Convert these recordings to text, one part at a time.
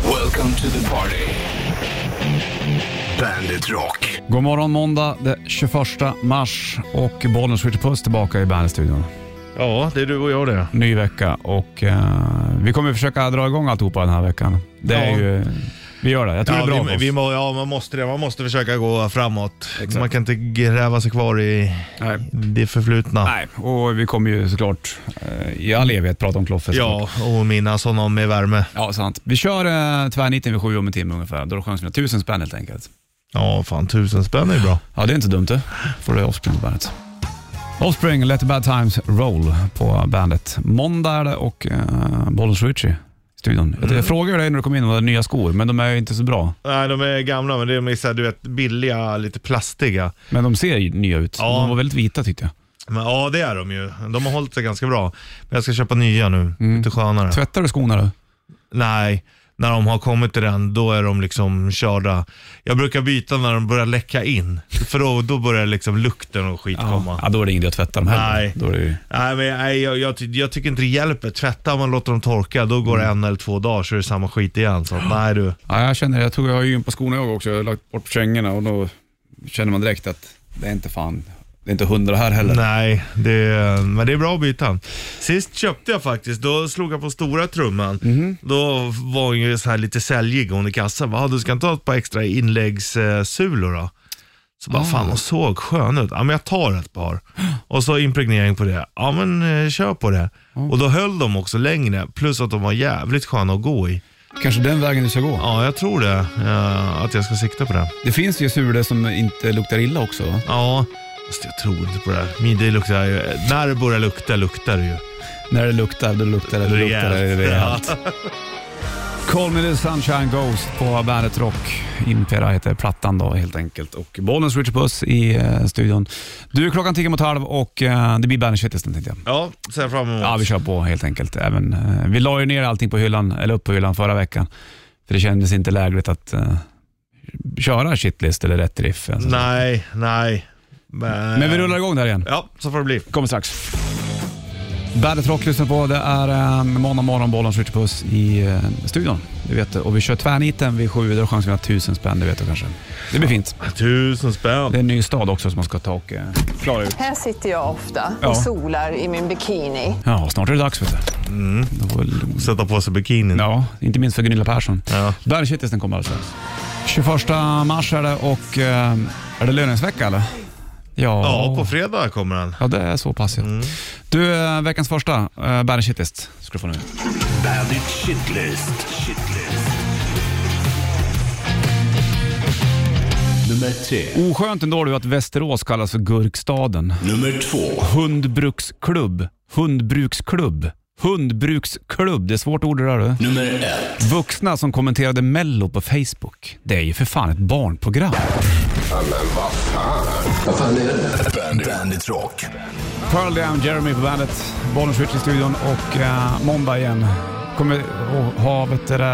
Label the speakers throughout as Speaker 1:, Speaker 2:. Speaker 1: Welcome to the party. Bandit Rock.
Speaker 2: God morgon måndag den 21 mars och Bollnäs Switch Puss tillbaka i Bandit-studion.
Speaker 3: Ja, det är du och jag det.
Speaker 2: Ny vecka och eh, vi kommer försöka dra igång alltihopa den här veckan. Det är
Speaker 3: Ja.
Speaker 2: ju, vi gör det. Jag tror det är bra
Speaker 3: Ja,
Speaker 2: för
Speaker 3: vi,
Speaker 2: oss.
Speaker 3: vi må, ja, man måste det. Man måste försöka gå framåt. Man kan inte gräva sig kvar i
Speaker 2: Nej.
Speaker 3: det förflutna.
Speaker 2: Nej, och vi kommer ju såklart eh, i all evighet prata om Kloffe. såklart.
Speaker 3: Ja, och minnas honom med värme.
Speaker 2: Ja, sant. Vi kör eh, tvärnitten vid sju om en timme ungefär. Då är det chansen att tusen spänn helt enkelt.
Speaker 3: Ja, fan tusen spänn är bra.
Speaker 2: Ja, det är inte dumt det. Får du Offspring på bandet. Offspring, Let the Bad Times Roll på bandet. Måndag är det och uh, Bollens Richie i studion.
Speaker 3: Mm.
Speaker 2: Jag frågade dig när du kom in om du hade nya skor, men de är ju inte så bra.
Speaker 3: Nej, de är gamla, men de är så här, du vet, billiga, lite plastiga.
Speaker 2: Men de ser ju nya ut.
Speaker 3: Ja.
Speaker 2: De var väldigt vita tyckte jag.
Speaker 3: Men ja, det är de ju. De har hållit sig ganska bra. Men jag ska köpa nya nu. Lite skönare.
Speaker 2: Tvättar du skorna då?
Speaker 3: Nej, när de har kommit till den, då är de liksom körda. Jag brukar byta när de börjar läcka in, för då, då börjar liksom lukten och skit komma.
Speaker 2: ja, då är det ingen idé att tvätta dem heller.
Speaker 3: Nej.
Speaker 2: Då är det ju...
Speaker 3: Nej, men, nej jag, jag, ty- jag tycker inte det hjälper. Tvättar man låter dem torka, då går det en eller två dagar så är det samma skit igen. Så att, nej du.
Speaker 2: ja, jag känner Jag tror jag har ju på skorna jag också. Jag har lagt bort kängorna och då känner man direkt att det är inte fan, det är inte hundra här heller.
Speaker 3: Nej, det, men det är bra att byta. Sist köpte jag faktiskt, då slog jag på stora trumman. Då var hon ju så här lite säljig hon i kassan. Bara, "Ah, du ska inte ha ett par extra inläggssulor då? Så bara, fan hon såg skön ut. Ja men jag tar ett par. Och så impregnering på det. Ja men eh, kör på det. Och då höll de också längre, plus att de var jävligt sköna att gå i.
Speaker 2: Kanske den vägen du ska gå.
Speaker 3: Ja, jag tror det. eh, att jag ska sikta på det.
Speaker 2: Det finns ju sulor som inte luktar illa också va?
Speaker 3: Ja, fast jag tror inte på det. Min, det luktar ju, när det börjar lukta, luktar det ju.
Speaker 2: När det luktar, då luktar det, då luktar det rejält. Call Me The Sunshine Ghost på Bandet Rock. Impera heter plattan då helt enkelt. Och Bollens Richard Puss i eh, studion. Du, klockan tickar mot halv och eh, det blir Bandet Shitlisten tänkte jag.
Speaker 3: Ja, ser jag fram emot.
Speaker 2: Ja, vi kör på helt enkelt. Även, eh, vi la ju ner allting på hyllan, eller upp på hyllan förra veckan. För det kändes inte lägligt att eh, köra shitlist eller rätt riff. alltså.
Speaker 3: Nej, nej. Men,
Speaker 2: Men vi rullar igång där igen.
Speaker 3: Ja, så får det bli.
Speaker 2: Kommer strax. Bandet Rock lyssnar på. Det är eh, måndag morgon, bollen skjuter puss i eh, studion. Det vet du. Och vi kör tvärniten vid sju. Då är chansen att tusen spänn, det vet du kanske. Det blir fint.
Speaker 3: Tusen
Speaker 2: Det är
Speaker 3: spänn.
Speaker 2: en ny stad också som man ska ta och eh, klara ut.
Speaker 4: Här sitter jag ofta och
Speaker 2: Ja.
Speaker 4: solar i min bikini.
Speaker 2: Ja, snart är det dags vet du. Då får väl-
Speaker 3: Sätta på sig bikinin.
Speaker 2: Ja, inte minst för Gunilla Persson.
Speaker 3: Ja.
Speaker 2: Bandet kommer alldeles strax. 21 mars är det och eh, är det löningsvecka eller? Ja,
Speaker 3: Ja, på fredag kommer han.
Speaker 2: ja det är så pass ja. Du, eh, veckans första, eh, Bandet Shitlist ska du få nu.
Speaker 1: Bandit Shitlist. Shitlist. Nummer tre.
Speaker 2: Oskönt ändå du att Västerås kallas för gurkstaden.
Speaker 1: Nummer två.
Speaker 2: Hundbruksklubb, hundbruksklubb, hundbruksklubb. Det är svårt ord det där du.
Speaker 1: Nummer ett.
Speaker 2: Vuxna som kommenterade mello på Facebook. Det är ju för fan ett barnprogram.
Speaker 1: Vad fan är det? Bandit, Bandit Rock.
Speaker 2: Pearl Jam, Jeremy på bandet, Bollnäs Switch i studion och eh, måndag igen. Kommer att ha vet du, det,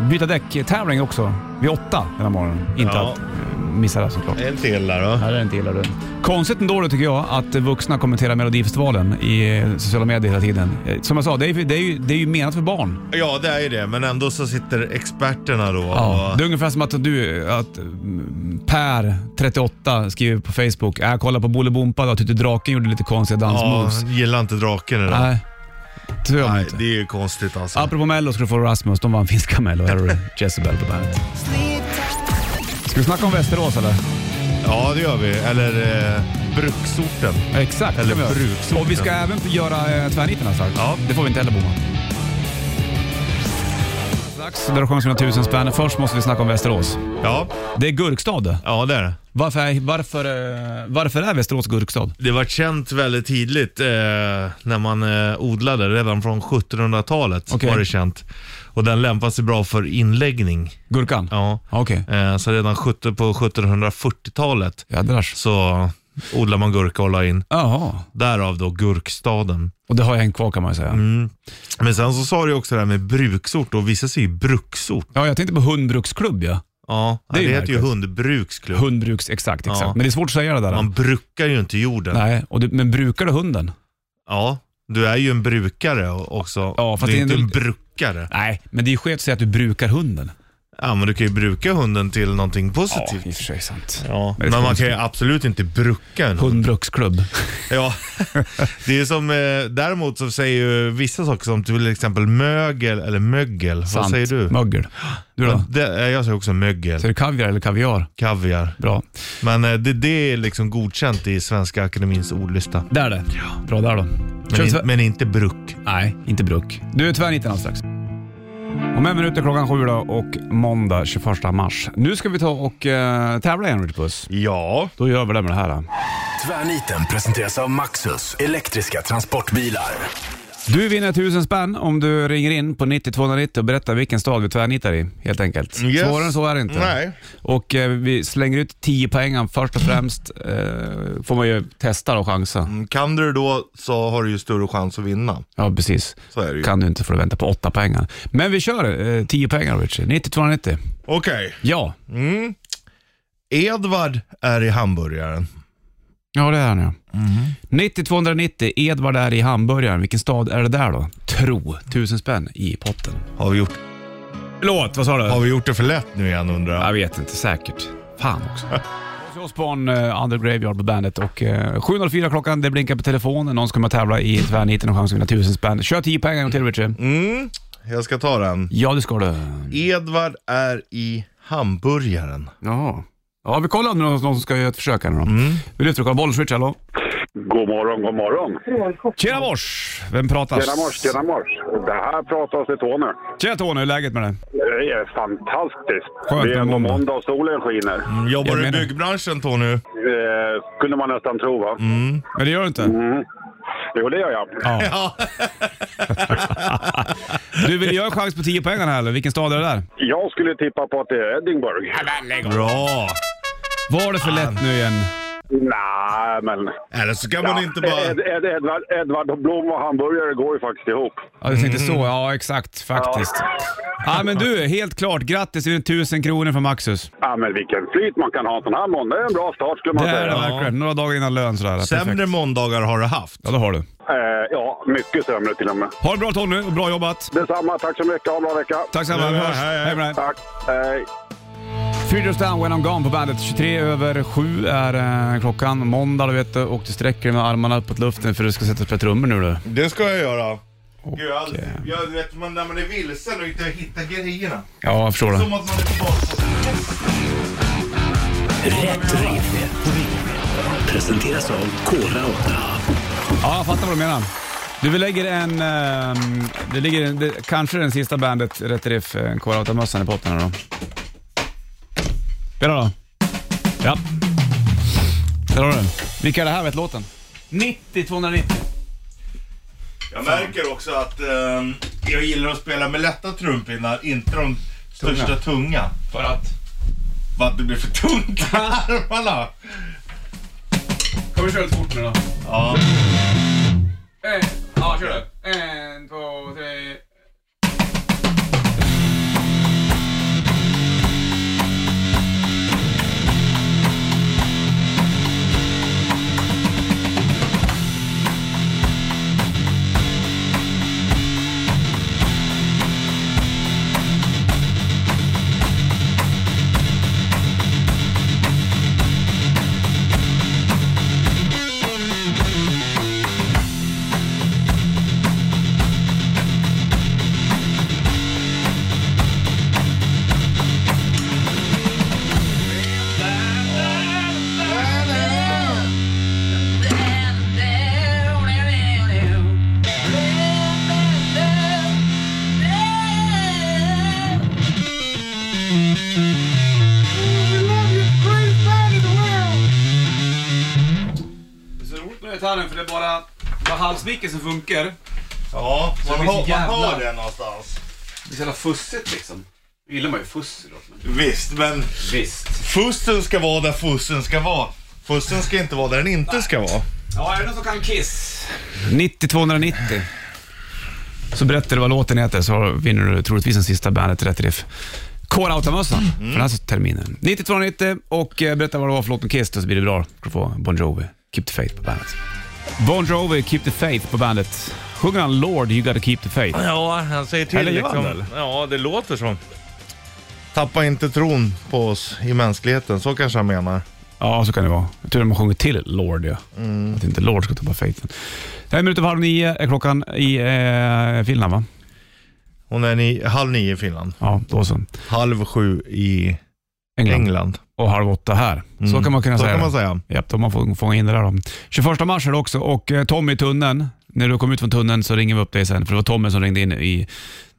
Speaker 2: eh, byta däck-tävling också vid åtta den här morgonen. Inte
Speaker 3: Ja.
Speaker 2: att eh, missa det såklart.
Speaker 3: En till där då.
Speaker 2: Nej, det är inte illa du. Konstigt ändå då tycker jag att vuxna kommenterar Melodifestivalen i eh, sociala medier hela tiden. Eh, Som jag sa, det är, ju- det är, ju, det är ju menat för barn.
Speaker 3: Ja, det är ju det. Men ändå så sitter experterna då.
Speaker 2: Det
Speaker 3: Och,
Speaker 2: är ungefär som att du, att mm, Per, 38, skriver på Facebook, äh, kolla på Bolibompa då, tyckte draken gjorde lite konstiga
Speaker 3: ja,
Speaker 2: dansmoves.
Speaker 3: gillar inte draken idag.
Speaker 2: Nej, tror jag
Speaker 3: Nej,
Speaker 2: inte.
Speaker 3: det är ju konstigt alltså.
Speaker 2: Apropå Mello ska du få Rasmus, de vann finska Mello. Här har du Jezebel på bandet. Ska vi snacka om Västerås eller?
Speaker 3: Ja, det gör vi. Eller eh, bruksorten.
Speaker 2: Exakt.
Speaker 3: Eller
Speaker 2: ska vi göra.
Speaker 3: bruksorten.
Speaker 2: Och vi ska även göra eh, tvärniten här strax.
Speaker 3: Ja.
Speaker 2: Det får vi inte heller bomma. Strax drar chansen att tusen spänn. Först måste vi snacka om Västerås.
Speaker 3: Ja,
Speaker 2: Det är Gurkstad det.
Speaker 3: ja det är det.
Speaker 2: Varför är, varför, eh, varför är Västerås Gurkstad?
Speaker 3: Det var känt väldigt tidigt eh, när man eh, odlade, redan från 1700-talet
Speaker 2: Okej.
Speaker 3: var det känt. Och den lämpar sig bra för inläggning.
Speaker 2: Gurkan?
Speaker 3: Ja.
Speaker 2: Ja, Okej.
Speaker 3: Eh, så redan 70, på 1740-talet
Speaker 2: Jädrars.
Speaker 3: så odlar man gurka och la in.
Speaker 2: Jaha.
Speaker 3: Därav då gurkstaden. Mm.
Speaker 2: Och det har jag hängt kvar kan man ju säga.
Speaker 3: Men sen så sa du ju också det här med bruksort och vissa säger ju bruksort.
Speaker 2: Ja, jag tänkte på hundbruksklubb ja.
Speaker 3: Ja,
Speaker 2: Det
Speaker 3: det,
Speaker 2: är ju
Speaker 3: heter ju
Speaker 2: märkligt.
Speaker 3: hundbruksklubb.
Speaker 2: Hundbruks, exakt, exakt.
Speaker 3: Ja.
Speaker 2: Men det är svårt att säga det där.
Speaker 3: Man brukar ju inte jorden.
Speaker 2: Nej, och du, men brukar du hunden?
Speaker 3: Ja, du är ju en brukare också.
Speaker 2: Ja, fast
Speaker 3: du är
Speaker 2: det är
Speaker 3: inte
Speaker 2: en-
Speaker 3: en brukare. brukare.
Speaker 2: Nej, men det är skönt att säga att du brukar hunden.
Speaker 3: Ja, men du kan ju bruka hunden till någonting
Speaker 2: Ja, typ. i
Speaker 3: positivt.
Speaker 2: och för sig sant.
Speaker 3: Ja,
Speaker 2: Men
Speaker 3: men
Speaker 2: det
Speaker 3: man
Speaker 2: finns
Speaker 3: kan ju absolut inte bruka en hund.
Speaker 2: Hundbruksklubb.
Speaker 3: Ja, det är som, eh, däremot så säger ju vissa saker som till exempel mögel eller mögel. Vad
Speaker 2: Sant.
Speaker 3: säger du?
Speaker 2: Mögel. Du då?
Speaker 3: Det, eh, jag säger också mögel,
Speaker 2: Säger du kaviar eller kaviar?
Speaker 3: kaviar.
Speaker 2: Bra.
Speaker 3: Men eh, det, det är liksom godkänt i Svenska Akademins ordlista.
Speaker 2: Där det. Bra där då. Kör
Speaker 3: Men,
Speaker 2: vi
Speaker 3: in,
Speaker 2: så-
Speaker 3: men inte bruk.
Speaker 2: Nej, inte bruk. Du, tyvärr inte alldeles strax. Om en minut är klockan sju då och måndag 21 mars. Nu ska vi ta och eh, tävla igen Richard Puss.
Speaker 3: Ja.
Speaker 2: Då gör vi det med det här. Då.
Speaker 1: Tvärniten presenteras av Maxus elektriska transportbilar.
Speaker 2: Du vinner 1000 spänn om du ringer in på 9290 och berättar vilken stad vi tvärnitar i, helt enkelt.
Speaker 3: Mm, Yes.
Speaker 2: Svårare än så är det inte.
Speaker 3: Nej.
Speaker 2: Och eh, vi slänger ut 10 poängen först och främst. Eh, får man ju testa och chansa.
Speaker 3: Kan du då så har du ju större chans att vinna.
Speaker 2: Ja, precis.
Speaker 3: Så är det ju.
Speaker 2: Kan du inte får du vänta på 8 poängen. Men vi kör eh, 10 poängen Richard. 9290.
Speaker 3: Okej.
Speaker 2: Ja.
Speaker 3: Mm. Edvard är i hamburgaren.
Speaker 2: Ja, det är han ja. 90-290, Edvard är i hamburgaren. Vilken stad är det där då? Tro. 1000 spänn i potten.
Speaker 3: Har vi gjort,
Speaker 2: Låt, vad sa du?
Speaker 3: har vi gjort det för lätt nu igen undrar
Speaker 2: Jag
Speaker 3: jag?
Speaker 2: vet inte, säkert. Fan också. Ozzy Osbourne, eh, Under Graveyard på bandet och eh, 7.04 klockan, det blinkar på telefonen. Någon ska med och tävla i tvärniten och chans att vinna 1000 spänn. Kör 10 poäng en gång till Richard.
Speaker 3: Mm. Jag ska ta den.
Speaker 2: Ja, det ska du.
Speaker 3: Edvard är i hamburgaren.
Speaker 2: Jaha. Ja, vi kollar om det är någon, någon som ska göra ett försök här nu då. Vi lyfter och kollar. Bollen, Richard, hallå?
Speaker 5: God morgon, god morgon.
Speaker 2: Tjena mors! Vem pratar?
Speaker 5: Tjena mors, tjena mors. Det här pratas i tå nu.
Speaker 2: Tjena Tony, hur är läget med dig?
Speaker 5: Det är fantastiskt.
Speaker 2: Skönt
Speaker 5: det är
Speaker 2: med
Speaker 5: ändå
Speaker 2: måndag.
Speaker 5: måndag och solen skiner.
Speaker 3: Jobbar
Speaker 2: Jag
Speaker 3: du i
Speaker 2: menar-
Speaker 3: byggbranschen Tony?
Speaker 5: Eh, kunde man nästan tro va?
Speaker 2: Mm. Men det gör du inte?
Speaker 5: Jo, det gör jag.
Speaker 3: Ja.
Speaker 2: Du, vill jag ha en chans på 10 poäng här eller? Vilken stad är det där?
Speaker 5: Jag skulle tippa på att det är Edinburgh.
Speaker 3: Bra!
Speaker 2: Var det för lätt nu igen?
Speaker 5: Nej, men...
Speaker 3: Eller så kan
Speaker 5: Ja,
Speaker 3: man inte bara...
Speaker 5: Ed, Ed, Edvard, Edvard och Blom och hamburgare går ju faktiskt ihop.
Speaker 2: Ja, du tänkte så. Ja, exakt. Faktiskt. Ja, men du, helt klart. Grattis till 1000 kronor från Maxus.
Speaker 5: Ja, men vilken flyt man kan ha en sån här måndag. Det är en bra start skulle man
Speaker 2: Det är det
Speaker 5: säga.
Speaker 2: verkligen. Några dagar innan lön sådär. Perfekt.
Speaker 3: Sämre måndagar har du haft.
Speaker 2: Ja, det har du.
Speaker 5: Eh, ja, mycket sämre till och med.
Speaker 2: Ha det bra Tony och bra jobbat.
Speaker 5: Detsamma, tack så mycket. Ha en bra vecka.
Speaker 2: Tack snälla, vi
Speaker 3: Ja,
Speaker 2: hörs.
Speaker 3: hej, hej.
Speaker 2: Hej med dig.
Speaker 5: Tack, hej.
Speaker 2: Three Doors Down, When I'm Gone på bandet. 23 över 7 är eh, klockan. Måndag, du vet du. Och du sträcker dig med armarna uppåt luften för du ska sätta och spela trummor nu du.
Speaker 3: Det ska jag göra. Gud, jag,
Speaker 2: eh,
Speaker 3: jag vet man, när man är vilsen och inte hittar grejerna.
Speaker 2: Ja, jag förstår det.
Speaker 3: Som att man är på barn.
Speaker 1: Rätt riff. Presenteras av Kora 8.
Speaker 2: Ja, jag fattar vad du menar. Du, vi lägger en... ehm, det ligger en, det, kanske den sista bandet, Rätt Riff, eh, Core Outta-mössan i potten här då. Spela då. Ja. Där har du den. Vilka är det här, vet låten? 90 290.
Speaker 3: Jag märker också att ehm, jag gillar att spela med lätta trumpinnar, inte de största tunga.
Speaker 2: För att?
Speaker 3: För att det blir för tungt i armarna.
Speaker 2: Kan vi köra lite fort nu då?
Speaker 3: Ja.
Speaker 2: En, ja, kör du. En, två, tre. Det är så roligt med gitarren för det är bara, bara halsmicken som funkar. Det
Speaker 3: Ja,
Speaker 2: det
Speaker 3: man,
Speaker 2: finns
Speaker 3: hör- man
Speaker 2: jävla-
Speaker 3: hör det någonstans.
Speaker 2: är så jävla fussigt liksom. Nu gillar man ju fuss då, men
Speaker 3: Visst, men
Speaker 2: Visst.
Speaker 3: fussen ska vara där fussen ska vara. Fussen ska inte vara där den inte ska vara.
Speaker 2: Ja, är det någon som kan Kiss? 90-290. Så berättar du vad låten heter så vinner du troligtvis den sista bandet Rätt Riff. Kåra Autamössan för den här terminen. 90-290 och eh, berätta vad det var för låt med Kiss då så blir det bra. Du får Bon Jovi, Keep the Faith på bandet. Bon Jovi, Keep the Faith på bandet. Sjunger han Lord You Gotta Keep The Faith?
Speaker 3: Ja, han säger till
Speaker 2: Eller gör han
Speaker 3: liksom.
Speaker 2: det, eller?
Speaker 3: Ja, det låter som. Tappa inte tron på oss i mänskligheten, så kanske han menar.
Speaker 2: Ja, så kan det vara. Jag tror de har sjungit till Lord, ja. Att inte Lord ska tappa faithen. En minut över halv nio är klockan i eh, Finland, va?
Speaker 3: Hon är ni, halv nio i Finland,
Speaker 2: Ja, då så.
Speaker 3: halv sju i
Speaker 2: England.
Speaker 3: England.
Speaker 2: Och halv åtta här. Så kan man kunna
Speaker 3: Mm. Så
Speaker 2: säga.
Speaker 3: kan
Speaker 2: det.
Speaker 3: man säga.
Speaker 2: Japp, de har fång- fångat in det där. Då. 21 mars är det också och eh, Tommy i tunneln. När du kommer ut från tunneln så ringer vi upp dig sen, för det var Tommy som ringde in i,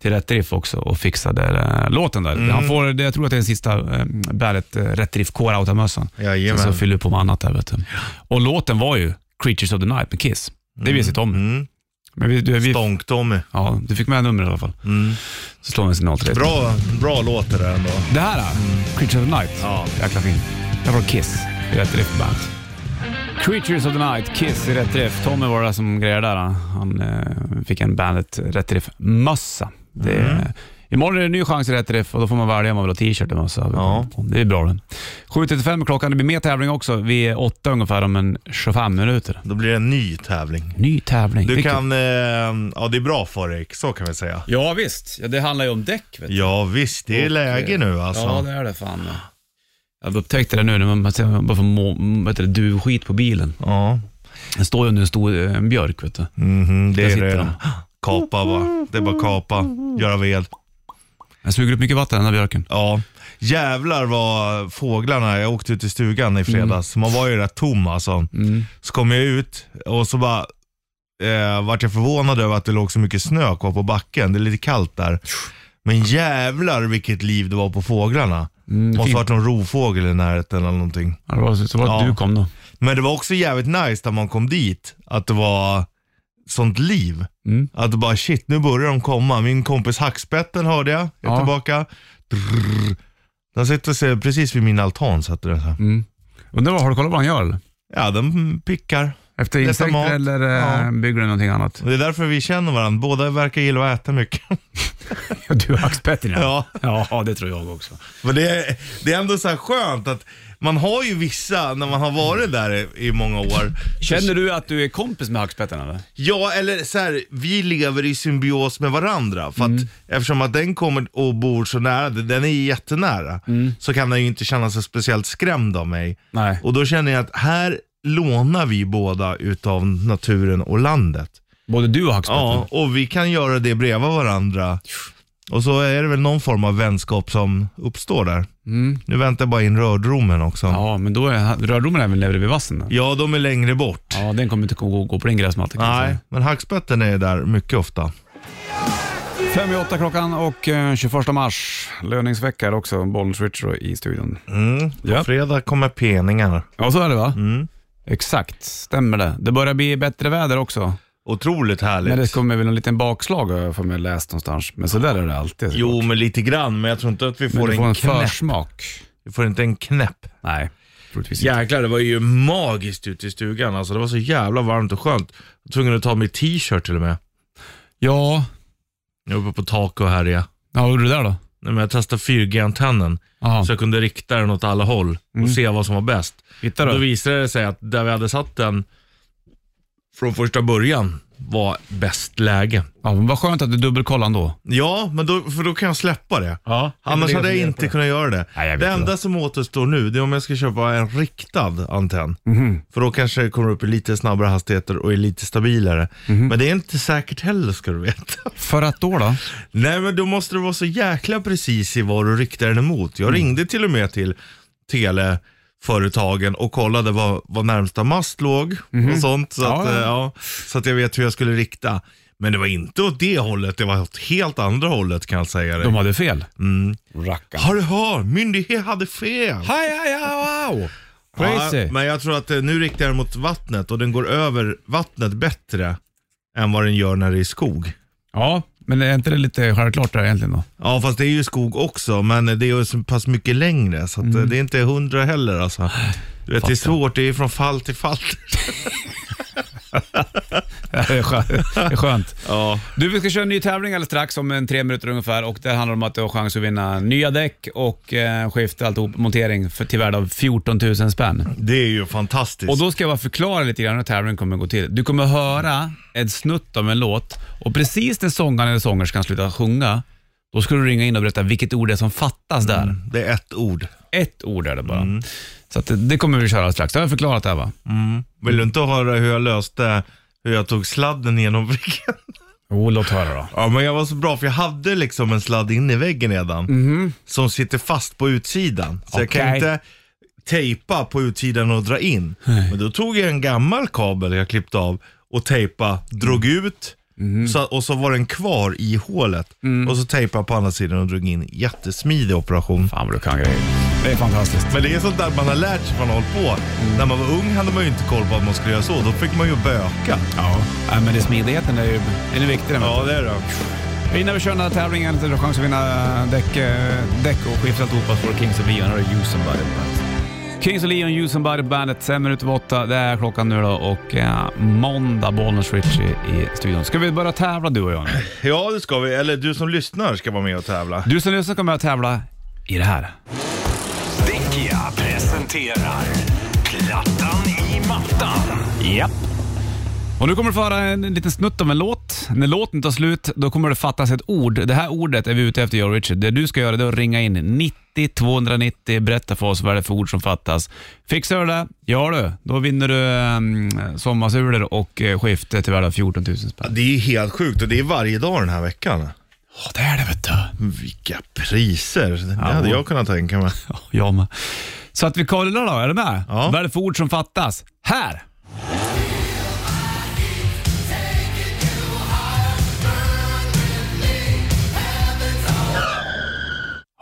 Speaker 2: till Rätt Riff också och fixade eh, låten där.
Speaker 3: Mm.
Speaker 2: Han får, det- jag tror att det är den sista eh, bäret, eh, Rätt Riff Core-outamössan. Sen
Speaker 3: Jajamän.
Speaker 2: så fyller du på med annat där. Vet du. Och låten var ju Creatures of the Night med Kiss. Det visste Tommy.
Speaker 3: Mm.
Speaker 2: Men vi, du, vi,
Speaker 3: Stånk-Tommy.
Speaker 2: ja, du fick med numret i alla fall.
Speaker 3: Mm.
Speaker 2: Så slår vi en signal till dig.
Speaker 3: Bra, bra låt det där ändå.
Speaker 2: Det här, mm. Creatures of the Night.
Speaker 3: Ja.
Speaker 2: Jäkla fin. Det var Kiss i rätt riff på bandet. Creatures of the Night, Kiss i rätt riff. Tommy var det som grejade där. Han, han eh, fick en bandet rätt riff-mössa. Det är-
Speaker 3: Mm.
Speaker 2: Imorgon är det en ny chans i rätt riff och då får man välja om man vill ha t-shirt eller mössa.
Speaker 3: Ja.
Speaker 2: Det är bra det. 7.35 är klockan, det blir mer tävling också. Vi är åtta ungefär om en 25 minuter.
Speaker 3: Då blir det en ny tävling.
Speaker 2: Ny tävling. Det
Speaker 3: Du
Speaker 2: är kul.
Speaker 3: kan, eh, ja det är bra för dig, så kan vi säga.
Speaker 2: Ja visst, ja, det handlar ju om däck. Vet du.
Speaker 3: Ja visst, det är
Speaker 2: Och,
Speaker 3: läge
Speaker 2: eh,
Speaker 3: nu
Speaker 2: Ja,
Speaker 3: alltså.
Speaker 2: det är det fan. Jag upptäckte det nu när man- man ser man bara får må, vad heter det, duvskit på bilen.
Speaker 3: Ja,
Speaker 2: Den står ju under en stor eh, en björk. Vet du.
Speaker 3: mhm, det
Speaker 2: Där
Speaker 3: är
Speaker 2: sitter
Speaker 3: det.
Speaker 2: de.
Speaker 3: Kapa va, det är bara kapa, göra ved.
Speaker 2: Den suger upp mycket vatten den här björken.
Speaker 3: Ja, jävlar vad fåglarna, jag åkte ut i stugan i fredags, man var ju rätt tom alltså. Så kom jag ut och så bara eh, vart jag förvånad över att det låg så mycket snö kvar på backen, det är lite kallt där. Men jävlar vilket liv det var på fåglarna. Måste
Speaker 2: fint.
Speaker 3: varit någon rovfågel i närheten eller någonting.
Speaker 2: Ja, det var så, så var det
Speaker 3: Ja.
Speaker 2: du kom då.
Speaker 3: Men det var också jävligt nice när man kom dit, att det var sånt liv.
Speaker 2: Mm.
Speaker 3: Att det bara shit, nu börjar de komma. Min kompis Hackspetten hörde jag, är
Speaker 2: Ja.
Speaker 3: tillbaka. Drrrr. Den sitter sig precis vid min altan. Så att det, är så. här.
Speaker 2: Mm. Undrar vad, har du kollat vad han gör eller?
Speaker 3: Ja, den pickar.
Speaker 2: Efter
Speaker 3: Letar
Speaker 2: insekter
Speaker 3: mat.
Speaker 2: eller eh,
Speaker 3: Ja.
Speaker 2: bygger du någonting annat?
Speaker 3: Och det är därför vi känner varandra. Båda verkar gilla att äta mycket.
Speaker 2: Ja, du är hackspetten
Speaker 3: Ja.
Speaker 2: ja, det tror jag också.
Speaker 3: Men det är, det är ändå så här skönt att man har ju vissa, när man har varit där i, i många år.
Speaker 2: Känner du att du är kompis med hackspetten eller?
Speaker 3: Ja, eller så här, vi lever i symbios med varandra. För att, Eftersom att den kommer och bor så nära, den är ju jättenära, så kan den ju inte känna sig speciellt skrämd av mig.
Speaker 2: Nej.
Speaker 3: Och då känner jag att här lånar vi båda utav naturen och landet.
Speaker 2: Både du och hackspetten?
Speaker 3: Ja, och vi kan göra det bredvid varandra. Och så är det väl någon form av vänskap som uppstår där. Nu väntar jag bara in rördromen också. Mm. Ja.
Speaker 2: Ja, men då är rördomen även nere vid vassen då?
Speaker 3: de är längre bort.
Speaker 2: Ja, den kommer inte gå, gå på din gräsmatta kan jag säga.
Speaker 3: Nej, men hackspetten är där mycket ofta.
Speaker 2: Fem i åtta klockan och eh, 21 mars. Löningsvecka är också. Bollnäs Ritchie i studion.
Speaker 3: Mm. På
Speaker 2: Ja.
Speaker 3: fredag kommer peningar.
Speaker 2: Ja, så är det va?
Speaker 3: Mm.
Speaker 2: Exakt, stämmer det. Det börjar bli bättre väder också.
Speaker 3: Otroligt härligt.
Speaker 2: Men det kommer väl en liten bakslag har jag för mig läst någonstans. Men så där är det alltid. såklart.
Speaker 3: Jo, men lite grann. Men jag tror inte att vi
Speaker 2: men
Speaker 3: får,
Speaker 2: du
Speaker 3: en,
Speaker 2: får en
Speaker 3: knäpp.
Speaker 2: försmak.
Speaker 3: Vi får inte en knäpp.
Speaker 2: Nej, troligtvis inte.
Speaker 3: Jäklar, det var ju magiskt ute i stugan. Alltså, det var så jävla varmt och skönt. Jag var tvungen att ta min t-shirt till och med.
Speaker 2: Ja,
Speaker 3: Jag var uppe på taket och härjade.
Speaker 2: ja vad gjorde du där då?
Speaker 3: Nej, men jag testade 4G-antennen
Speaker 2: Aha.
Speaker 3: så jag kunde rikta den åt alla håll och
Speaker 2: Mm.
Speaker 3: se vad som var bäst.
Speaker 2: Hittade
Speaker 3: Då
Speaker 2: du?
Speaker 3: visade det sig att där vi hade satt den från första början var bäst läge.
Speaker 2: Ja, men vad skönt att du dubbelkollade ändå.
Speaker 3: Ja, men då, för då kan jag släppa det.
Speaker 2: Ja,
Speaker 3: Annars hade jag inte kunnat göra det.
Speaker 2: Nej, jag vet
Speaker 3: det
Speaker 2: inte.
Speaker 3: enda som återstår nu det är om jag ska köpa en riktad antenn.
Speaker 2: Mhm.
Speaker 3: För då kanske det kommer upp i lite snabbare hastigheter och är lite stabilare.
Speaker 2: Mhm.
Speaker 3: Men det är inte säkert heller ska du veta.
Speaker 2: För att då då?
Speaker 3: Nej men då måste du vara så jäkla precis i vad du riktar den emot.
Speaker 2: Mm.
Speaker 3: Jag ringde till och med till teleföretagen och kollade vad, vad närmsta mast låg och sånt. Så,
Speaker 2: Mhm. Ja,
Speaker 3: att,
Speaker 2: ja.
Speaker 3: eh, Ja, så att jag vet hur jag skulle rikta. Men det var inte åt det hållet, det var åt helt andra hållet kan jag säga dig.
Speaker 2: De hade fel.
Speaker 3: Mm.
Speaker 2: Rackarn.
Speaker 3: Har du hört? Myndighet hade fel.
Speaker 2: Haj, haj, haj, wow. Crazy.
Speaker 3: Ja, men jag tror att eh, nu riktar jag den mot vattnet och den går över vattnet bättre än vad den gör när det är skog.
Speaker 2: Ja, men är inte det lite självklart där egentligen då?
Speaker 3: Ja fast det är ju skog också men det är ju så pass mycket längre så att
Speaker 2: Mm.
Speaker 3: eh, det är inte hundra heller alltså. Du vet, det är svårt, det är från fall till fall.
Speaker 2: Det är skönt. Det är skönt.
Speaker 3: Ja.
Speaker 2: Du, vi ska köra en ny tävling alldeles strax om en tre minuter ungefär och det handlar om att du har chans att vinna nya däck och eh, skift, alltihop, montering för, till värde av 14 000 spänn.
Speaker 3: Det är ju fantastiskt.
Speaker 2: Och då ska jag bara förklara lite grann hur tävlingen kommer gå till. Du kommer höra en snutt av en låt och precis när sångaren eller sångerskan slutar sjunga, då ska du ringa in och berätta vilket ord det är som fattas där.
Speaker 3: Det är ett ord.
Speaker 2: Ett ord är det bara. Så att det, det kommer vi köra alldeles strax. Det har jag förklarat det här va?
Speaker 3: Vill du inte höra hur jag löste hur jag tog sladden genom väggen?
Speaker 2: Jo, låt höra då.
Speaker 3: Ja, men jag var så bra för jag hade liksom en sladd in i väggen redan. Som sitter fast på utsidan. Så jag kan
Speaker 2: Okej.
Speaker 3: inte tejpa på utsidan och dra in. Men då tog jag en gammal kabel jag klippte av och tejpa, drog ut. Så, och så var den kvar i hålet. Och så tejpade jag på andra sidan och drog in. Jättesmidig operation.
Speaker 2: Fan vad du kan grejer. Det är fantastiskt.
Speaker 3: Men det är sånt där man har lärt sig, man har hållit på. När man var ung hade man ju inte koll på att man skulle göra så. Då fick man ju böka.
Speaker 2: Ja, Nej, men det är smidigheten är ju den är viktig. Den
Speaker 3: Ja, det är det.
Speaker 2: Innan vi kör den här tävlingen så har du chans att vinna däck, eh, däck och skift alltihopa för Kings of Leon och You Somebody Bandet. Kings of Leon, You Somebody Bandet, fem minuter över åtta. Det är klockan nu då och eh, måndag, Bollnäs Richie i studion. Ska vi börja tävla du och jag nu?
Speaker 3: Ja, det ska vi. Eller du som lyssnar ska vara med och tävla.
Speaker 2: Du som lyssnar kommer att tävla i det här.
Speaker 1: Däckia presenterar Plattan i mattan.
Speaker 2: Japp. Och nu kommer du få höra en liten snutt av en låt. När låten tar slut, då kommer det fattas ett ord. Det här ordet är vi ute efter, jag och Richard. Det du ska göra det är att ringa in 90 290, berätta för oss vad det är för ord som fattas. Fixar du det, ja du, då vinner du um, sommarsulor och eh, skifte till värde av 14 000 spänn.
Speaker 3: Det är helt sjukt och det är varje dag den här veckan.
Speaker 2: Ja, det är det vet du.
Speaker 3: Vilka priser. Det hade jag kunnat tänka mig.
Speaker 2: Ja, jag med. Så att vi kollar då, är du med?
Speaker 3: Ja.
Speaker 2: Vad är det för ord som fattas? Här!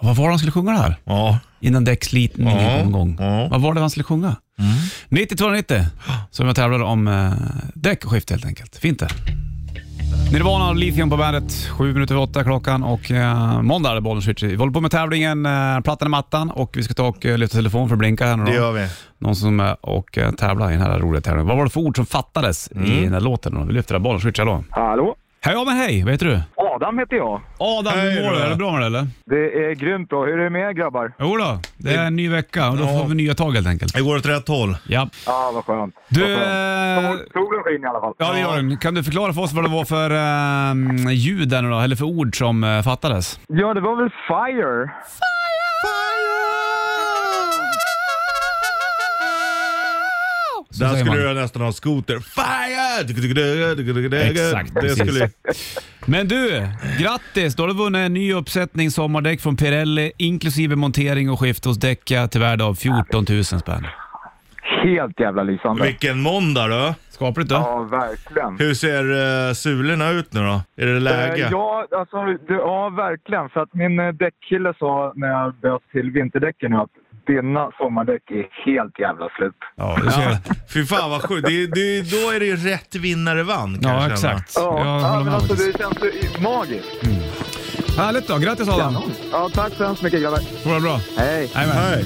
Speaker 2: Vad var det han skulle sjunga där?
Speaker 3: Ja.
Speaker 2: Innan däckslitningen
Speaker 3: Ja,
Speaker 2: kom igång.
Speaker 3: ja. Mm.
Speaker 2: Vad var det han skulle sjunga? 90-290, som jag tävlade om eh, däck och skift helt enkelt. Fint det. Nirvana och Lithium på bandet. Sju minuter över åtta klockan och eh, måndag är det Bollnäs Ritchie. Vi håller på med tävlingen eh, Plattan i mattan och vi ska ta och eh, lyfta telefon för att blinka här nu då.
Speaker 3: Det gör vi.
Speaker 2: Någon som eh, och eh, tävlar i den här roliga tävlingen. Vad var det för ord som fattades
Speaker 3: Mm.
Speaker 2: i den här låten? då? Vi lyfter Bollnäs Ritchie, hallå.
Speaker 6: Hallå?
Speaker 2: Hej, ja men hej, vad heter du?
Speaker 6: Adam heter jag.
Speaker 2: Adam,
Speaker 3: Hej
Speaker 2: hur mår
Speaker 3: då.
Speaker 2: du? Är det bra med det eller?
Speaker 6: Det är grymt bra. Hur är det med er grabbar?
Speaker 2: Jo då, det är en ny vecka och då
Speaker 3: Ja.
Speaker 2: får vi nya tag helt enkelt.
Speaker 3: Det går åt rätt håll.
Speaker 2: Ja.
Speaker 6: Ja, vad skönt.
Speaker 2: Du,
Speaker 6: Vad
Speaker 2: eh,
Speaker 6: skönt. Solen skiner i alla fall.
Speaker 2: ja det gör den. Kan du förklara för oss vad det var för eh, ljud där nu då, eller för ord som eh, fattades?
Speaker 6: Ja, det var väl Fire?
Speaker 2: Så
Speaker 3: Där
Speaker 2: säger
Speaker 3: skulle
Speaker 2: man.
Speaker 3: du nästan ha skoter. Fire!
Speaker 2: Exakt,
Speaker 3: Det
Speaker 2: precis.
Speaker 3: skulle...
Speaker 2: Men du, grattis! Då har du vunnit en ny uppsättning sommardäck från Pirelli inklusive montering och skift hos Däcka till värde av 14 000 spänn.
Speaker 6: Helt jävla lysande.
Speaker 3: Vilken måndag då.
Speaker 2: Skapligt då?
Speaker 6: Ja, verkligen.
Speaker 3: Hur ser uh, sulorna ut nu då? Är det läge?
Speaker 6: Eh, Ja, alltså, det, ja, verkligen. För att min eh, däckkille sa när jag böt till vinterdäcken nu att dina sommardäck är helt jävla slut.
Speaker 2: Ja, du ser.
Speaker 3: Ja, fy fan vad sjukt. Det, det, då är det ju rätt vinnare vann kan jag
Speaker 2: ja
Speaker 3: känna.
Speaker 2: exakt.
Speaker 6: Ja,
Speaker 2: Jag
Speaker 6: ja
Speaker 2: håller
Speaker 6: men
Speaker 2: med
Speaker 6: alltså
Speaker 2: faktiskt.
Speaker 6: det känns ju magiskt.
Speaker 2: Härligt då, grattis Adam!
Speaker 6: Ja, tack så hemskt mycket grabbar.
Speaker 2: Får det bra.
Speaker 6: Hej.
Speaker 2: Jajamän.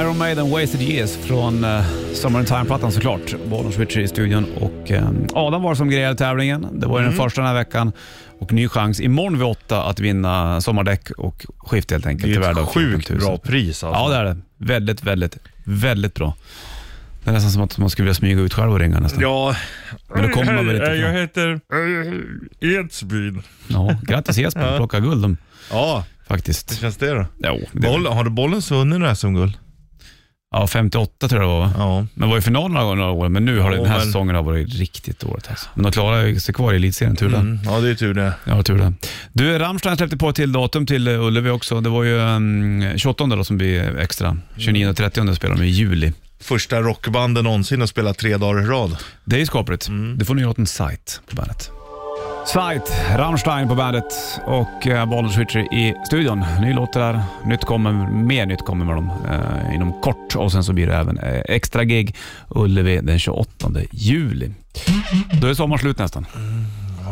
Speaker 2: Iron Maiden Wasted Years från uh, Summer in Time-plattan såklart. Bollnäs Richie i studion och eh, Adam var som grejade tävlingen. Det var ju
Speaker 3: Mm.
Speaker 2: den första den här veckan och ny chans imorgon vid åtta att vinna sommardäck och skift helt enkelt.
Speaker 3: Det
Speaker 2: till
Speaker 3: är
Speaker 2: värde av
Speaker 3: ett
Speaker 2: 14 000.
Speaker 3: sjukt bra pris alltså.
Speaker 2: Ja det är det. Väldigt, väldigt, väldigt bra. Det är nästan som att man skulle vilja smyga ut själv och ringa nästan.
Speaker 3: Ja.
Speaker 2: Men då kommer man väl inte
Speaker 3: Hej,
Speaker 2: fram.
Speaker 3: Jag heter eh, Edsbyn.
Speaker 2: Ja, grattis Jesper, ja. plocka guld de,
Speaker 3: Ja,
Speaker 2: faktiskt.
Speaker 3: känns det då?
Speaker 2: Jo, det,
Speaker 3: Boll, har du bollen svunnit den här som guld?
Speaker 2: ja, 58 tror jag det var va?
Speaker 3: Ja.
Speaker 2: Men var i final några, några år, men nu har det,
Speaker 3: Ja,
Speaker 2: den här
Speaker 3: men-
Speaker 2: säsongen har varit riktigt dåligt. Alltså. Men de klarar ju sig kvar i elitserien, tur det.
Speaker 3: Mm, ja, det är tur det.
Speaker 2: Ja, tur det. Du, Rammstein släppte på ett till datum till eh, Ullevi också. Det var ju um, 28 då som blir extra. 29 och 30 spelar de i juli.
Speaker 3: Första rockbanden någonsin att spela tre dagar i rad.
Speaker 2: Det är ju skapligt. Du får nya låten Sight på bandet. Sight, Rammstein på bandet och eh, Bollnäs Ritchie i studion. Ny låt det där. Nytt kommer, mer nytt kommer med dem eh, inom kort och sen så blir det även eh, extra gig Ullevi den 28 juli. Då är sommaren slut nästan.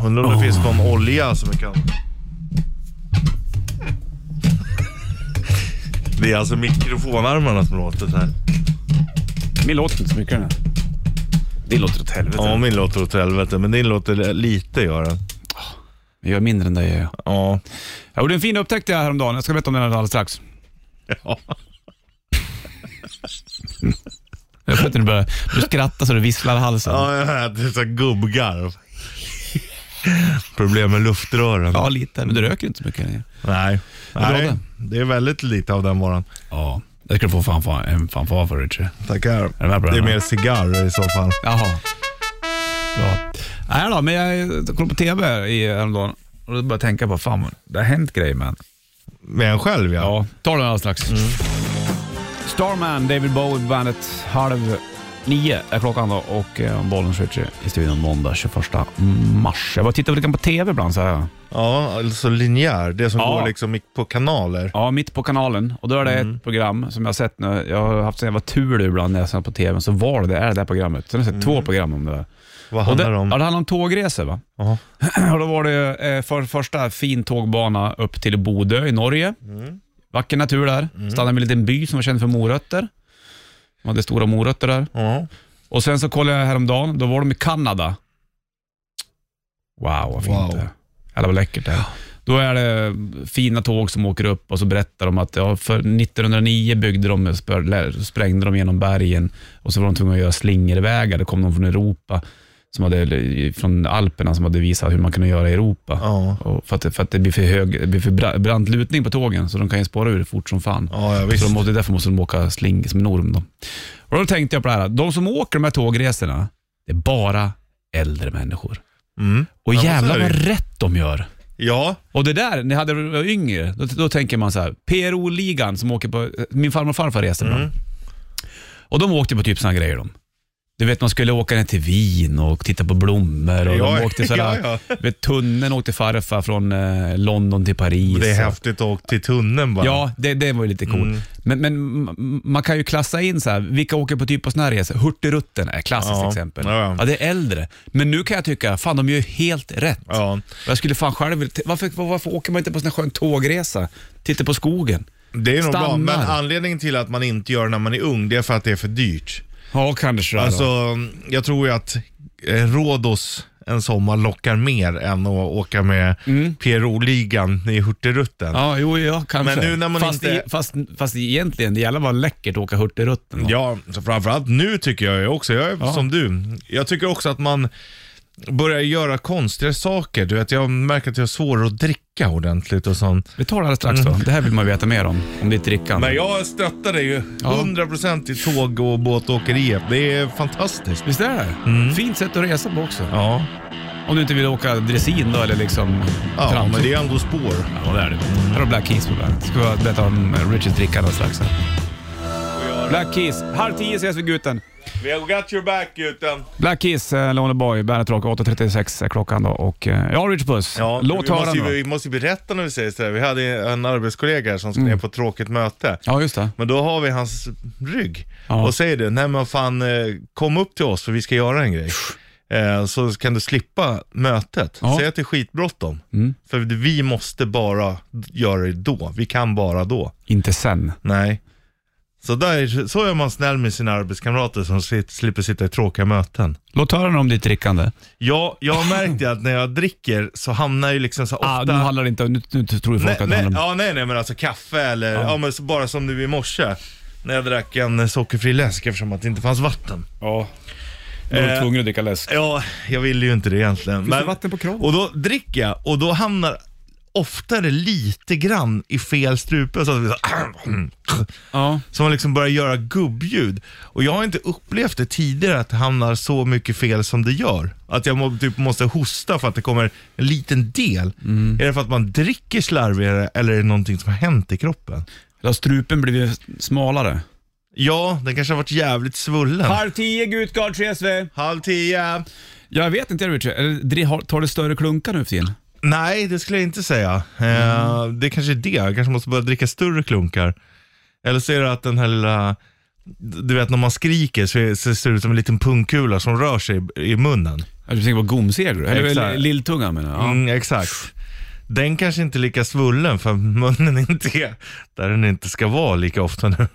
Speaker 3: Undrar om det finns någon olja som vi kan... Det är alltså mikrofonarmarna som låter så här.
Speaker 2: Min låt inte så mycket den här. Din låter åt helvete.
Speaker 3: Ja, min låter åt helvete, men din låter lite gör den.
Speaker 2: Jag gör mindre än dig gör jag.
Speaker 3: Ja.
Speaker 2: Jag gjorde en fin upptäckt jag häromdagen. Jag ska berätta om den alldeles strax.
Speaker 3: ja.
Speaker 2: Jag vet inte, du, börjar, du skrattar så det visslar i halsen. Ja,
Speaker 3: Ja, jag hör att det är så här gubbgarv. Problem med luftrören.
Speaker 2: lite. Men du röker inte så mycket längre.
Speaker 3: Nej.
Speaker 2: Vad
Speaker 3: Nej,
Speaker 2: bra
Speaker 3: det är väldigt lite av den varan.
Speaker 2: Ja, det ska du få fanfar, en fanfar för Richie.
Speaker 3: Tackar.
Speaker 2: du med på den
Speaker 3: Det är
Speaker 2: här?
Speaker 3: mer cigarr i så fall.
Speaker 2: Jaha. Bra. Nej då, men jag kollade på TV i häromdagen och då började jag tänka på, fan det har hänt grejer man.
Speaker 3: Med en själv ja.
Speaker 2: Ja, ta den alldeles strax. Mm. Starman, David Bowie på bandet. Halv nio är klockan då och eh, bollen Richie i studion måndag 21 mars. Jag bara tittar lite grann på TV ibland så här.
Speaker 3: Ja, alltså linjär. Det som
Speaker 2: Ja.
Speaker 3: går liksom i- på kanaler.
Speaker 2: Ja, mitt på kanalen. Och då är det ett program som jag har sett nu. Jag har haft sån jävla tur ibland när jag sett på TVn, så var det det, är det där programmet. Sen har jag sett två program om det där.
Speaker 3: Vad
Speaker 2: Och det,
Speaker 3: handlar det om?
Speaker 2: Ja, det handlar om tågresor. Va?
Speaker 3: Ja.
Speaker 2: Och då var det eh, för första fin tågbana upp till Bodö i Norge. Vacker natur där. Stannade vid en liten by som var känd för morötter. De hade stora morötter där.
Speaker 3: Ja.
Speaker 2: Och sen så kollade jag häromdagen, då var de i Kanada. Wow, vad fint
Speaker 3: Wow.
Speaker 2: det är. Jävlar vad läckert det är. Då är det fina tåg som åker upp och så berättar de att ja, för 1909 byggde de, spör- lä- sprängde de genom bergen och så var de tvungna att göra slingervägar. Det kom någon från Europa, som hade, eller från Alperna, som hade visat hur man kunde göra i Europa.
Speaker 3: Ja.
Speaker 2: Och för, att, för att det blir för, hög, det blir för bra- brant lutning på tågen, så de kan ju spåra ur fort som fan.
Speaker 3: Ja, ja,
Speaker 2: Så
Speaker 3: visst.
Speaker 2: de måste, därför måste de åka sling som en orm. Då. Och då tänkte jag på det här. De som åker de här tågresorna, det är bara äldre människor.
Speaker 3: Mm.
Speaker 2: Och
Speaker 3: Ja, men så
Speaker 2: jävlar
Speaker 3: är det
Speaker 2: vad
Speaker 3: ju.
Speaker 2: rätt de gör.
Speaker 3: Ja.
Speaker 2: Och det där, när jag hade var yngre, då, då tänker man så här. PRO-ligan som åker på, min farmor och farfar reste
Speaker 3: mm.
Speaker 2: ibland. Och de åkte på typ sådana grejer de. Du vet man skulle åka ner till Wien och titta på blommor och de
Speaker 3: Ja,
Speaker 2: åkte sådär,
Speaker 3: ja,
Speaker 2: Vet, tunneln åkte farfar från eh, London till Paris.
Speaker 3: Det är
Speaker 2: och-
Speaker 3: häftigt att åka till tunneln bara.
Speaker 2: Ja, det, det var ju lite coolt. Men, men m- man kan ju klassa in så här, vilka åker på typ på såna här resor? Hurtigruten är ett klassiskt
Speaker 3: Ja,
Speaker 2: exempel.
Speaker 3: ja, ja.
Speaker 2: Ja, det är äldre. Men nu kan jag tycka, fan de gör ju helt rätt.
Speaker 3: Ja.
Speaker 2: Jag skulle fan själv vilja- varför, var- varför åker man inte på sån här skön tågresa? Titta på skogen.
Speaker 3: Det är nog bra, men
Speaker 2: Stannar.
Speaker 3: anledningen till att man inte gör det när man är ung, det är för att det är för dyrt.
Speaker 2: Ja, kanske
Speaker 3: Alltså, jag tror ju att eh, Rhodos en sommar lockar mer än att åka med PRO-ligan i Hurtigruten.
Speaker 2: Mm. Ja, jo, ja, kanske.
Speaker 3: Men nu när man
Speaker 2: fast,
Speaker 3: inte-
Speaker 2: i, fast, fast egentligen, det jävla var läckert att åka Hurtigruten. va?
Speaker 3: Ja, så framförallt nu tycker jag ju också, jag är
Speaker 2: Ja.
Speaker 3: som du. Jag tycker också att man börjar göra konstiga saker. Du vet, jag märker att jag har svårare att dricka ordentligt och sånt.
Speaker 2: Vi tar det alldeles strax då. Det här vill man veta mer om, om ditt drickande.
Speaker 3: Men jag stöttar dig ju
Speaker 2: Ja.
Speaker 3: 100% i tåg och båtåkeriet. Det är fantastiskt.
Speaker 2: Visst är det? Fint sätt att resa på också.
Speaker 3: Ja,
Speaker 2: Om du inte vill åka dressin då eller liksom
Speaker 3: ja
Speaker 2: trams.
Speaker 3: men det är ändå spår.
Speaker 2: Ja, det är det. Här har Black Keys på bandet. Ska vi berätta om Richards drickande strax. här. Black Keys. Halv tio ses vi Guten.
Speaker 3: Vi har got your back utan.
Speaker 2: Black Keys, eh, Lonely Boy, Bandet Rock. 8.36 är klockan då. Och, eh, ja, Richard Puss.
Speaker 3: Ja,
Speaker 2: Låt
Speaker 3: vi,
Speaker 2: höra
Speaker 3: måste,
Speaker 2: nu
Speaker 3: ju-
Speaker 2: då.
Speaker 3: vi måste ju berätta när vi säger sådär. Vi hade en arbetskollega här som skulle
Speaker 2: Mm.
Speaker 3: ner på ett tråkigt möte.
Speaker 2: Ja, just det.
Speaker 3: Men då har vi hans rygg
Speaker 2: Ja.
Speaker 3: och säger det, nej men fan eh, kom upp till oss för vi ska göra en grej. Eh, Så kan du slippa mötet.
Speaker 2: Ja. Mm.
Speaker 3: Säg att det är skitbråttom. För vi måste bara göra det då. Vi kan bara då.
Speaker 2: Inte sen.
Speaker 3: Nej. Så, där, så är man snäll med sina arbetskamrater som sit, slipper sitta i tråkiga möten.
Speaker 2: Låt höra nu om ditt drickande.
Speaker 3: Ja, jag har märkt det att när jag dricker så hamnar jag ju liksom så
Speaker 2: Ah,
Speaker 3: ofta...
Speaker 2: nu handlar det inte om... Nu, nu tror ju folk
Speaker 3: Nej,
Speaker 2: att det
Speaker 3: nej,
Speaker 2: handlar om...
Speaker 3: ja, nej, nej, men alltså kaffe eller, ja. men så bara som nu i morse. När jag drack en sockerfri läsk eftersom att det inte fanns vatten.
Speaker 2: Ja. Då är du
Speaker 3: Eh,
Speaker 2: tvungen att dricka läsk.
Speaker 3: Ja, jag ville ju inte det egentligen.
Speaker 2: det vatten på kranen?
Speaker 3: Och då dricker jag och då hamnar oftare lite grann i fel strupe. Så att vi så,
Speaker 2: Ja.
Speaker 3: så man liksom börjar göra gubbljud. Och jag har inte upplevt det tidigare att det hamnar så mycket fel som det gör. Att jag må, typ måste hosta för att det kommer en liten del.
Speaker 2: Mm.
Speaker 3: Är det för att man dricker slarvigare eller är det någonting som har hänt i kroppen?
Speaker 2: Då har strupen blivit smalare.
Speaker 3: Ja, den kanske har varit jävligt svullen.
Speaker 2: Halv tio, Gutgard ses vi.
Speaker 3: Halv tio.
Speaker 2: Jag vet inte, Richard. Eller, dri- har- Tar du större klunkar nu för tiden?
Speaker 3: Nej, det skulle jag inte säga. Eh,
Speaker 2: Mm.
Speaker 3: det kanske är det. Jag kanske måste börja dricka större klunkar. Eller så är det att den här lilla, du vet när man skriker så, är, så ser det ut som en liten pungkula som rör sig i, i munnen.
Speaker 2: Ja, Du tänker på gomseger? Eller
Speaker 3: Exakt.
Speaker 2: lill- lilltungan menar jag. Ja.
Speaker 3: Mm, exakt. Den kanske inte är lika svullen för munnen är inte är där den inte ska vara lika ofta nu.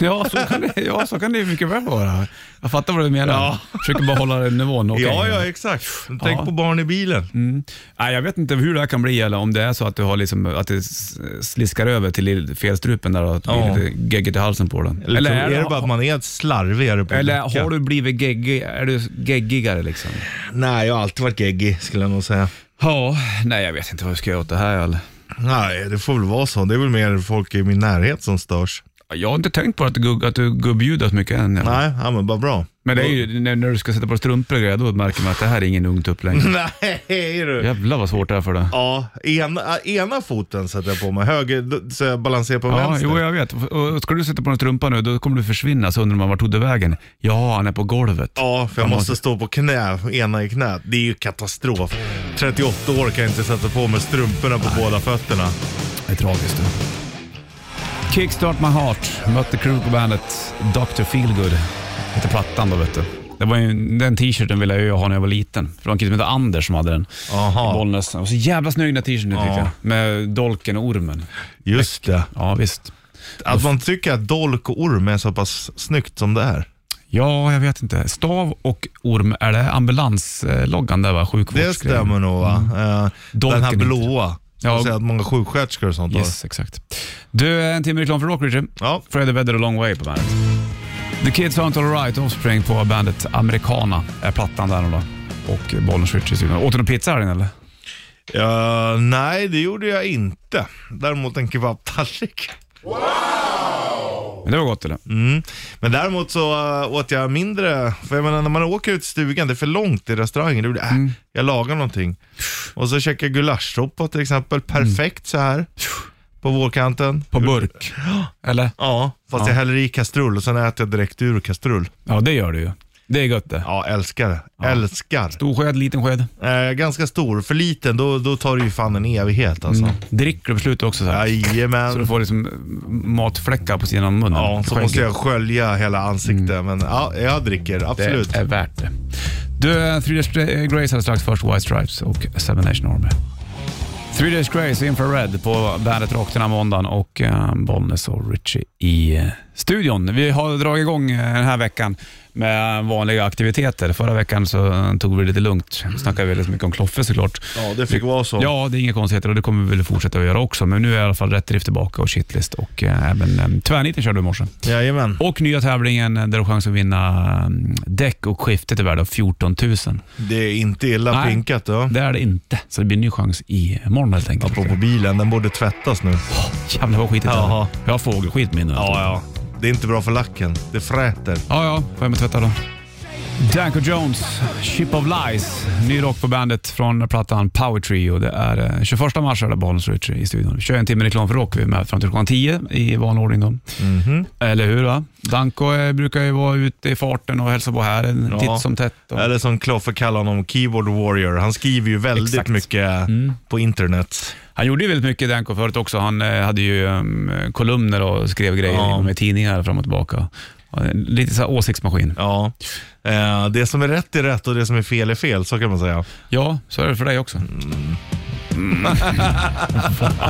Speaker 2: Ja, så kan det, ja, så kan det ju mycket väl vara. Jag fattar vad du menar.
Speaker 3: Ja.
Speaker 2: Försöker bara hålla den nivån. okej.
Speaker 3: Ja, ja, exakt. Tänk
Speaker 2: Ja. Mm.
Speaker 3: på barn i bilen.
Speaker 2: Nej, jag vet inte hur det här kan bli eller om det är så att, du har liksom, att det s- sliskar över till felstrupen där och att det blir
Speaker 3: Ja.
Speaker 2: lite geggigt i halsen på den.
Speaker 3: Eller, är, det bara att man är slarvigare på
Speaker 2: eller
Speaker 3: att dricka?
Speaker 2: har du blivit geggig, är du geggigare liksom?
Speaker 3: Nej, jag har alltid varit geggig skulle jag nog säga.
Speaker 2: Ja, nej jag vet inte vad jag ska göra åt det här eller.
Speaker 3: Nej, det får väl vara så. Det är väl mer folk i min närhet som störs.
Speaker 2: Jag har inte tänkt på att du, gugg- att du gubbjudar så mycket än. eller.
Speaker 3: Nej, ja, men bara bra.
Speaker 2: Men det är ju när, när du ska sätta på dig strumpor och grejer, då märker man att det här är ingen ung tupp längre.
Speaker 3: Nej, är du.
Speaker 2: Jävlar vad svårt det är för dig.
Speaker 3: Ja, ena, ena foten sätter jag på mig. Höger, d- så jag balanserar på
Speaker 2: Ja,
Speaker 3: vänster.
Speaker 2: jo, jag vet. Och och ska du sätta på en strumpa nu, då kommer du försvinna. Så undrar man, vart tog du vägen? Ja, han är på golvet.
Speaker 3: Ja, för jag
Speaker 2: Man
Speaker 3: måste stå på knä, ena i knät. Det är ju katastrof. 38 år kan jag inte sätta på mig strumporna på båda fötterna.
Speaker 2: Det är tragiskt. du. Kickstart My Heart, mötte crew på bandet Dr. Feelgood. Hette plattan då vet du. Det var ju, den t-shirten ville jag ju ha när jag var liten. För det var en kille som hette Anders som hade den.
Speaker 3: Aha.
Speaker 2: I Bollnäs. Den var så jävla snygg den här t-shirten tyckte jag. Med dolken och ormen.
Speaker 3: Just det.
Speaker 2: Ja, visst.
Speaker 3: Att man tycker att dolk och orm är så pass snyggt som det är.
Speaker 2: Ja, jag vet inte. Stav och orm, är det ambulansloggan där va? Sjukvårdsgrejen?
Speaker 3: Det stämmer nog va? Eh,
Speaker 2: Mm. Dolken
Speaker 3: Den här
Speaker 2: inte.
Speaker 3: blåa.
Speaker 2: Ja.
Speaker 3: Ja. Säga att många sjuksköterskor och sånt har.
Speaker 2: Yes, exakt. Du, eh, en timme reklam för Rock, Richard.
Speaker 3: Ja.
Speaker 2: Fred Vedder och Long Way på bandet. The Kids Aren't Alright, Offspring på bandet Americana är plattan där nu då. Och Bollnäs Richard i studion. Åt du någon pizza här inne eller?
Speaker 3: Ja, nej, det gjorde jag inte. Däremot en kebabtallrik.
Speaker 2: Men det var gott eller?
Speaker 3: Men däremot så eh, åt jag mindre, för jag menar när man åker ut i stugan, det är för långt till restaurangen. Då blir det, äh, jag lagar någonting. Och så käkade jag gulaschsoppa till exempel, perfekt så här på vårkanten.
Speaker 2: På burk? Eller?
Speaker 3: Ja, fast jag häller i kastrull och sen äter jag direkt ur kastrull.
Speaker 2: Ja, det gör du ju. Det är gött det.
Speaker 3: Ja, älskar det. Älskar.
Speaker 2: Stor sked, liten sked.
Speaker 3: Eh, ganska stor, för liten då, då tar det ju fan en evighet alltså.
Speaker 2: Dricker du på slutet också så här?
Speaker 3: Jajamän.
Speaker 2: Så du får liksom matfläckar på sidan av munnen.
Speaker 3: Ja, så
Speaker 2: Skägget.
Speaker 3: måste jag skölja hela ansiktet. Men ja, jag dricker,
Speaker 2: Mm. Det
Speaker 3: absolut.
Speaker 2: är värt det. Du, eh, Three Days Grace hade strax först White Stripes och Seven Nation Army. Three Days Grace, Infrared på Bandet Rock den här måndagen och eh, Bollnäs och Richie i eh, studion. Vi har dragit igång eh, den här veckan med vanliga aktiviteter. Förra veckan så eh, tog vi det lite lugnt. Då snackade vi väldigt mycket om Kloffe såklart.
Speaker 3: Ja, det fick vara så.
Speaker 2: Ja, det är inga konstigheter och det kommer vi väl fortsätta att göra också. Men nu är i alla fall Rätt Drift tillbaka och Shitlist och eh, även eh, Tvärniten körde du i morse.
Speaker 3: Jajamän.
Speaker 2: Och nya tävlingen där du har chans att vinna mm, däck och skiftet är värda 14 000.
Speaker 3: Det är inte illa
Speaker 2: Nej.
Speaker 3: pinkat då.
Speaker 2: Det är det inte, så det blir en ny chans i morgon helt enkelt.
Speaker 3: Apropå bilen, den borde tvättas nu.
Speaker 2: Jävlar vad skitigt det är.
Speaker 3: Jaha.
Speaker 2: Jag har fågelskit med nu.
Speaker 3: ja. Det är inte bra för lacken. Det fräter.
Speaker 2: ja, ja. Får jag mig tvätta då? Danko Jones, Ship of Lies. Ny rock på bandet från plattan Power Trio. Det är eh, 21 mars är det Bollnäs Ritchie i studion. 21 timmar reklam för rock. Vi är med fram till klockan 10 i vanlig ordning. Då.
Speaker 3: Mhm.
Speaker 2: Eller hur? va? Danko eh, brukar ju vara ute i farten och hälsa på här en
Speaker 3: Ja.
Speaker 2: titt som tätt. Och...
Speaker 3: Eller som Kloffe kallar honom, Keyboard Warrior. Han skriver ju väldigt
Speaker 2: Exakt. Mm.
Speaker 3: mycket på internet.
Speaker 2: Han gjorde ju väldigt mycket Danko förut också. Han eh, hade ju um, kolumner och skrev grejer
Speaker 3: Ja.
Speaker 2: med tidningar fram och tillbaka. Ja, en Lite så här åsiktsmaskin.
Speaker 3: Ja. Eh, det som är rätt är rätt och det som är fel är fel, så kan man säga.
Speaker 2: Ja, så är det för dig också. Mm.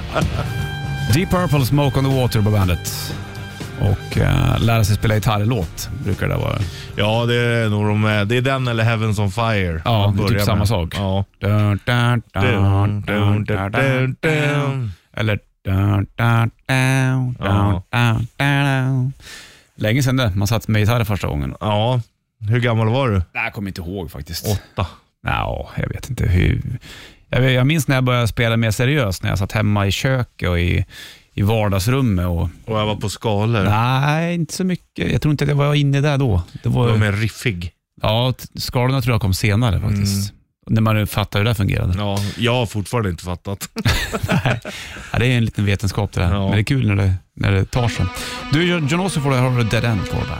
Speaker 2: Deep Purple, Smoke on the Water på bandet. Och eh, lära sig spela gitarrlåt brukar det vara.
Speaker 3: Ja, det är nog de, det är den eller Heavens on Fire.
Speaker 2: Ja,
Speaker 3: man
Speaker 2: det är
Speaker 3: börjar
Speaker 2: typ samma
Speaker 3: med.
Speaker 2: sak.
Speaker 3: Ja.
Speaker 2: Dun, dun, dun, dun, dun, dun, dun. Eller... dun, dun, dun, dun,
Speaker 3: Ja.
Speaker 2: dun, dun. Länge sedan det. Man satt med gitarr första gången.
Speaker 3: ja. Hur gammal var du?
Speaker 2: Nej, jag kommer inte ihåg faktiskt.
Speaker 3: Åtta.
Speaker 2: Nå, jag vet inte hur. Jag, vet, jag minns när jag började spela mer seriöst, när jag satt hemma i köket och i, i vardagsrummet. Och,
Speaker 3: Och jag var på skalor.
Speaker 2: nej, inte så mycket. Jag tror inte att jag var inne där då. Det
Speaker 3: Du var
Speaker 2: var,
Speaker 3: mer riffig.
Speaker 2: ja, t- skalorna tror jag kom senare faktiskt. När man fattar hur det där fungerade.
Speaker 3: Mm. Ja, jag har fortfarande inte fattat.
Speaker 2: Ja, det är en liten vetenskap det där.
Speaker 3: Ja.
Speaker 2: Men det är kul när det, när det tar sig. Du, John Ossie får du höra Dead End på bandet.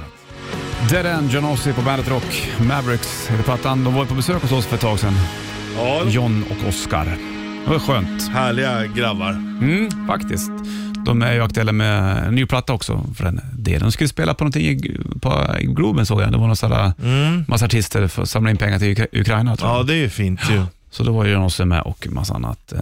Speaker 2: Dead End, John Ossie på Bandet Rock. Mavericks heter plattan. De var ju på besök hos oss för ett tag sedan.
Speaker 3: Ja,
Speaker 2: John och Oscar. Det var skönt.
Speaker 3: härliga grabbar.
Speaker 2: Mm, faktiskt. De är ju aktuella med en ny platta också för den delen. De skulle spela på någonting i, på i Globen såg jag. Det var någon sån där,
Speaker 3: Mm.
Speaker 2: massa artister för att samla in pengar till Ukra- Ukraina tror jag.
Speaker 3: Ja, det är ju fint ju.
Speaker 2: Så då var ju John Osse med och massa annat eh,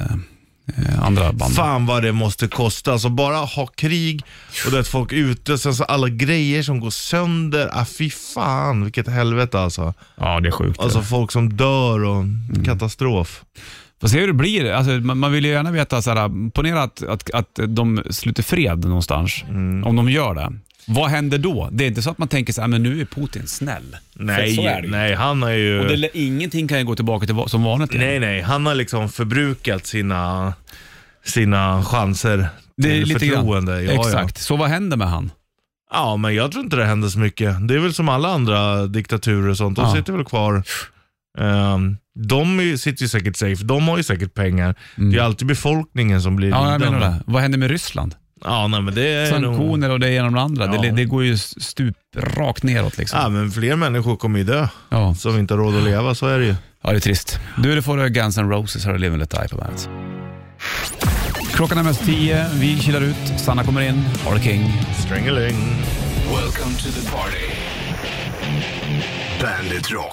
Speaker 2: eh, andra band.
Speaker 3: Fan vad det måste kosta. Alltså bara ha krig och det att folk är ute, sen så alla grejer som går sönder. Ah, fy fan vilket helvete alltså.
Speaker 2: Ja, Mm. det är sjukt.
Speaker 3: Alltså
Speaker 2: Alltså,
Speaker 3: folk som dör och katastrof.
Speaker 2: Får se hur det blir. Alltså, man, man vill ju gärna veta, så här, ponera att, att, att de sluter fred någonstans,
Speaker 3: Mm.
Speaker 2: om de gör det. Vad händer då? Det är inte så att man tänker så här, men nu är Putin snäll. För så är
Speaker 3: Nej,
Speaker 2: det ju.
Speaker 3: nej, han har ju...
Speaker 2: Och det, ingenting kan ju gå tillbaka till va- som vanligt igen.
Speaker 3: Nej, nej, han har liksom förbrukat sina, sina chanser
Speaker 2: det är
Speaker 3: till
Speaker 2: lite grann.
Speaker 3: förtroende.
Speaker 2: Exakt. Så vad händer med han?
Speaker 3: Ja. ja, men jag tror inte det händer så mycket. Det är väl som alla andra diktaturer och sånt. De
Speaker 2: Ja.
Speaker 3: sitter väl kvar. Ehm, de är, ju- sitter ju säkert safe. De har ju säkert pengar. Det är alltid befolkningen som blir
Speaker 2: Mm. Ja, jag
Speaker 3: lidande.
Speaker 2: menar det. Vad händer med Ryssland?
Speaker 3: Ja, nej, men det är nog...
Speaker 2: Sanktioner och det ena och det andra. Det,
Speaker 3: Ja.
Speaker 2: det går ju stup rakt neråt liksom.
Speaker 3: Ja, men fler människor kommer ju dö
Speaker 2: Ja.
Speaker 3: som inte har råd att leva. Så är det ju.
Speaker 2: Ja, det är trist. Du, det får du Guns N' Roses här och Live and Let Die på bandet. Klockan är mest tio, vi kilar ut, Sanna kommer in, Harley King.
Speaker 3: Strängeling.
Speaker 1: Welcome to the party. Bandit Rock.